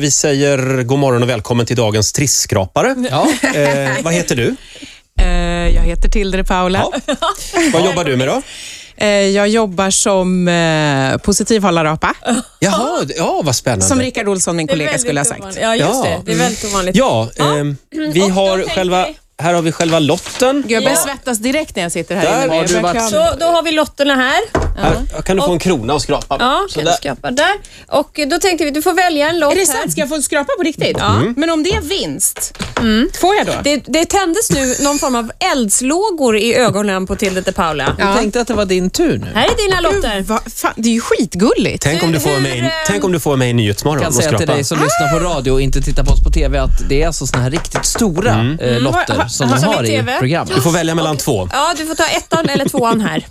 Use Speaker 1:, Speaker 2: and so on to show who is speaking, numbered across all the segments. Speaker 1: vi säger god morgon och välkommen till dagens trissskrapare.
Speaker 2: Ja.
Speaker 1: Eh, vad heter du?
Speaker 3: Eh, Jag heter Tildre Paula.
Speaker 1: Vad jobbar du med då?
Speaker 3: Eh, Jag jobbar som eh, positivhållarapa,
Speaker 1: Jaha, d- ja vad spännande.
Speaker 3: som Rickard Olsson, min
Speaker 4: Det är
Speaker 3: kollega,
Speaker 4: väldigt
Speaker 3: skulle ha
Speaker 4: ovanligt.
Speaker 3: sagt.
Speaker 4: Ja, just
Speaker 1: Ja.
Speaker 4: det. Det är väldigt ovanligt.
Speaker 1: Ja, ehm, vi
Speaker 4: och då
Speaker 1: har
Speaker 4: tänker
Speaker 1: själva,
Speaker 4: vi-
Speaker 1: här har vi själva lotten.
Speaker 3: Gud, jag börjar
Speaker 4: Ja.
Speaker 3: svettas direkt när jag sitter här
Speaker 1: Där
Speaker 3: inne.
Speaker 1: har
Speaker 3: Jag
Speaker 2: du
Speaker 3: börjar
Speaker 2: varit-
Speaker 3: kram-
Speaker 4: Så, då har vi lotterna här.
Speaker 1: Här kan du få en krona att skrapa.
Speaker 4: Ja,
Speaker 1: Så
Speaker 4: kan du
Speaker 1: där.
Speaker 4: skrapa där. Och eh, då tänkte vi, du får välja en låt
Speaker 3: Är det
Speaker 4: här.
Speaker 3: sant? Ska jag få skrapa på riktigt? Men om det är vinst, får jag då?
Speaker 4: Mm. Det, det tändes nu någon form av eldslågor i ögonen på Tilde de Paula.
Speaker 2: Jag tänkte att det var din tur nu.
Speaker 4: Här är dina lotter.
Speaker 3: Va, fan, det är ju skitgulligt.
Speaker 1: Tänk, om du får
Speaker 4: Hur-
Speaker 1: mig,
Speaker 4: hur,
Speaker 1: in- tänk om du får mig i Nyhetsmorgon
Speaker 2: Jag kan
Speaker 1: och
Speaker 2: säga till
Speaker 1: skrapa.
Speaker 2: dig som lyssnar på radio och inte tittar på oss på TV att det är alltså såna här riktigt stora eh,
Speaker 3: Har-
Speaker 2: lotter
Speaker 3: har-
Speaker 2: som de
Speaker 4: som i
Speaker 2: har i
Speaker 4: TV?
Speaker 2: programmet.
Speaker 1: Mm. Du får välja mellan två.
Speaker 4: Ja, du får ta ettan eller tvåan här.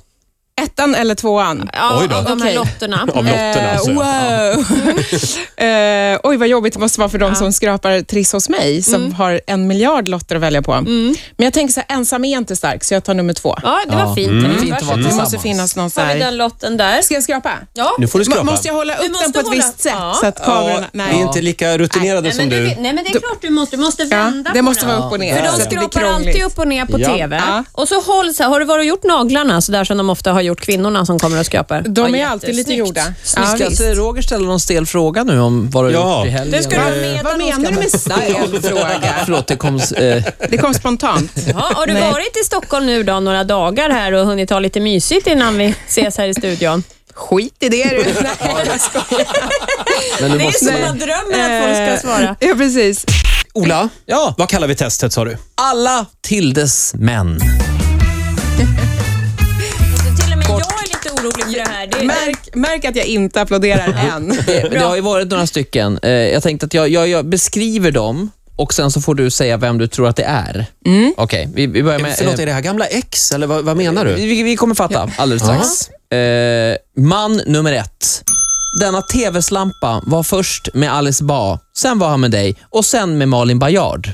Speaker 3: Ettan eller tvåan?
Speaker 4: Ja,
Speaker 1: Oj då.
Speaker 4: Av de här
Speaker 3: Okej.
Speaker 4: lotterna.
Speaker 1: Av lotterna
Speaker 3: Eh,
Speaker 1: alltså.
Speaker 3: wow. eh, oj, vad jobbigt det måste vara för de som skrapar Triss hos mig, som
Speaker 4: Mm.
Speaker 3: har en miljard lotter att välja på. Men jag tänker så här, ensam är inte stark, så jag tar nummer två.
Speaker 4: Ja, det var fint.
Speaker 1: Mm,
Speaker 2: Det är fint att vara
Speaker 4: Varsågod.
Speaker 3: Det
Speaker 2: tillsammans.
Speaker 3: måste finnas någon så
Speaker 4: Har vi
Speaker 3: här...
Speaker 4: den lotten där.
Speaker 3: Ska jag skrapa?
Speaker 4: Ja.
Speaker 1: Nu får du skrapa.
Speaker 3: M- måste jag hålla
Speaker 4: Du
Speaker 3: upp
Speaker 4: måste
Speaker 3: den på ett
Speaker 4: hålla-
Speaker 3: visst sätt
Speaker 4: Ja.
Speaker 3: så att kamerorna...
Speaker 1: Ja, vi är inte lika rutinerade
Speaker 4: Nej,
Speaker 1: som
Speaker 4: men det,
Speaker 1: du.
Speaker 4: nej, men det är klart du måste. Du måste
Speaker 3: Ja,
Speaker 4: vända
Speaker 3: det
Speaker 4: på
Speaker 3: måste
Speaker 4: den.
Speaker 3: vara upp och ner.
Speaker 4: För
Speaker 3: så
Speaker 4: de
Speaker 3: att det blir
Speaker 4: skrapar
Speaker 3: krångligt.
Speaker 4: alltid upp och ner på
Speaker 2: Ja.
Speaker 4: TV.
Speaker 3: Ja.
Speaker 4: Och så håll så här, Har du varit och gjort naglarna så där som de ofta har gjort kvinnorna som kommer och skrapar?
Speaker 3: De är
Speaker 4: Ja,
Speaker 3: alltid lite
Speaker 4: jättesnyggt.
Speaker 3: gjorda. Ja,
Speaker 2: Ska
Speaker 3: visst.
Speaker 2: inte Roger ställa någon stel fråga nu om vad du
Speaker 1: Ja.
Speaker 2: har gjort i helgen?
Speaker 4: Det ska du ha
Speaker 2: Eh,
Speaker 4: med.
Speaker 3: Vad menar du med stel fråga?
Speaker 2: Förlåt, det kom... Eh,
Speaker 3: Det kom spontant.
Speaker 4: Ja, har du
Speaker 3: Nej.
Speaker 4: varit i Stockholm nu då några dagar här och hunnit ha lite mysigt innan vi ses här i studion?
Speaker 3: Skit i det du. Nej, jag skojar.
Speaker 2: men du
Speaker 4: Det är så
Speaker 2: måste...
Speaker 4: man drömmer att folk ska svara.
Speaker 3: Ja, precis.
Speaker 1: Ola,
Speaker 2: Ja,
Speaker 1: vad kallar vi testet sa du?
Speaker 2: alla Tildes män.
Speaker 4: Till och med jag är lite orolig för det här. Det är,
Speaker 3: Märk, märk att jag inte applåderar än.
Speaker 2: Eh, Det, det har ju varit några stycken. Eh, jag tänkte att jag, jag, jag beskriver dem och sen så får du säga vem du tror att det är. Mm. Okej, vi, vi börjar med...
Speaker 4: eh,
Speaker 2: eh,
Speaker 1: Förlåt, är det här gamla ex eller vad, vad menar du?
Speaker 2: Vi, vi kommer fatta alldeles strax. Eh, man nummer ett. Denna tv-slampa var först med Alice Ba, sen var han med dig och sen med Malin Baryard.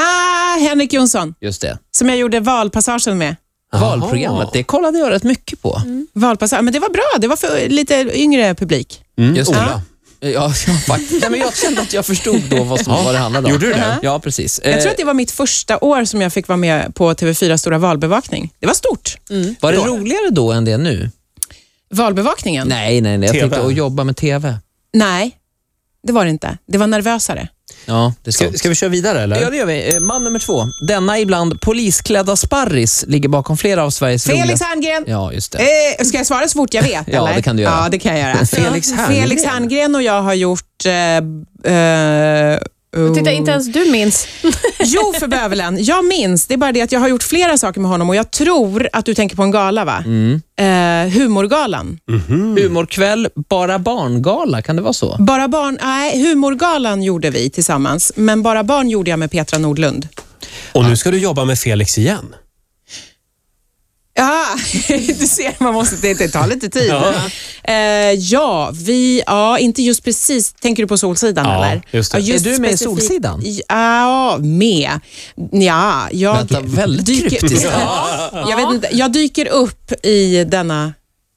Speaker 3: Ah, Henrik Jonsson,
Speaker 2: Just det.
Speaker 3: som jag gjorde valpassagen med.
Speaker 2: Valprogrammet, det kollade jag rätt mycket på.
Speaker 1: Mm.
Speaker 3: Valpassage. Men det var bra. Det var för lite yngre publik.
Speaker 1: Mm,
Speaker 2: Just det.
Speaker 1: Ola.
Speaker 2: Ja, Eh, ja, faktiskt. Nej, men jag kände att jag förstod då vad, som, vad det handlade om.
Speaker 1: Gjorde du det?
Speaker 2: Ja, precis. Eh,
Speaker 3: Jag
Speaker 1: Eh.
Speaker 3: tror att det var mitt första år som jag fick vara med på TV4 Stora valbevakning. Det var stort.
Speaker 2: Var
Speaker 1: Mm.
Speaker 2: det roligare då än det är nu?
Speaker 3: Valbevakningen?
Speaker 2: Nej, nej, nej. Jag
Speaker 1: TV.
Speaker 2: tänkte att jobba med TV.
Speaker 3: Nej, det var det inte. Det var nervösare.
Speaker 2: Ja, det är
Speaker 1: Ska,
Speaker 2: sant.
Speaker 1: ska vi köra vidare eller?
Speaker 2: Ja, det gör vi. Eh, Man nummer två. Denna ibland polisklädda sparris ligger bakom flera av Sveriges
Speaker 3: Felix
Speaker 2: roligaste...
Speaker 3: Herngren!
Speaker 2: Ja, just det.
Speaker 3: Eh, ska jag svara så fort jag vet?
Speaker 2: Ja,
Speaker 3: eller?
Speaker 2: det kan du göra.
Speaker 3: Ja, det kan jag göra.
Speaker 1: Felix Herngren.
Speaker 3: Felix Herngren och jag har gjort... Eh, eh, oh.
Speaker 4: titta, inte ens du minns.
Speaker 3: Jo, för bövelen. Jag minns. Det är bara det att jag har gjort flera saker med honom och jag tror att du tänker på en gala, va?
Speaker 2: Mm.
Speaker 3: Eh, humorgalan.
Speaker 2: Humorkväll, Bara barngala, kan det vara så?
Speaker 3: Bara barn... Nej, humorgalan gjorde vi tillsammans, men Bara barn gjorde jag med Petra Nordlund.
Speaker 1: Och nu ska du jobba med Felix igen.
Speaker 3: Ja, du ser, man måste, det, det tar lite tid. Ja. ja, vi, ja, inte just precis. Tänker du på Solsidan
Speaker 1: Ja,
Speaker 3: eller?
Speaker 1: just det.
Speaker 3: Ja,
Speaker 2: Är du med i
Speaker 3: specifikt-
Speaker 2: Solsidan?
Speaker 3: Ja, med. Ja, jag...
Speaker 2: Vänta, väldigt kryptiskt.
Speaker 3: Ja, jag, vet inte, jag dyker upp i denna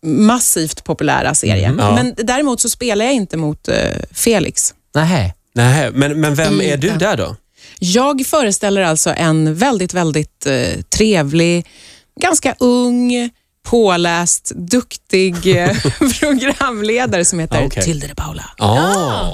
Speaker 3: massivt populära serie.
Speaker 1: Mm. Ja.
Speaker 3: Men däremot så spelar jag inte mot eh, Felix.
Speaker 2: Nej.
Speaker 1: Nej, men, men vem är du
Speaker 3: Inte.
Speaker 1: där då?
Speaker 3: Jag föreställer alltså en väldigt, väldigt eh, trevlig, ganska ung, påläst, duktig eh, programledare som heter
Speaker 1: Ah, okej.
Speaker 3: Tilde de Paula.
Speaker 1: Oh.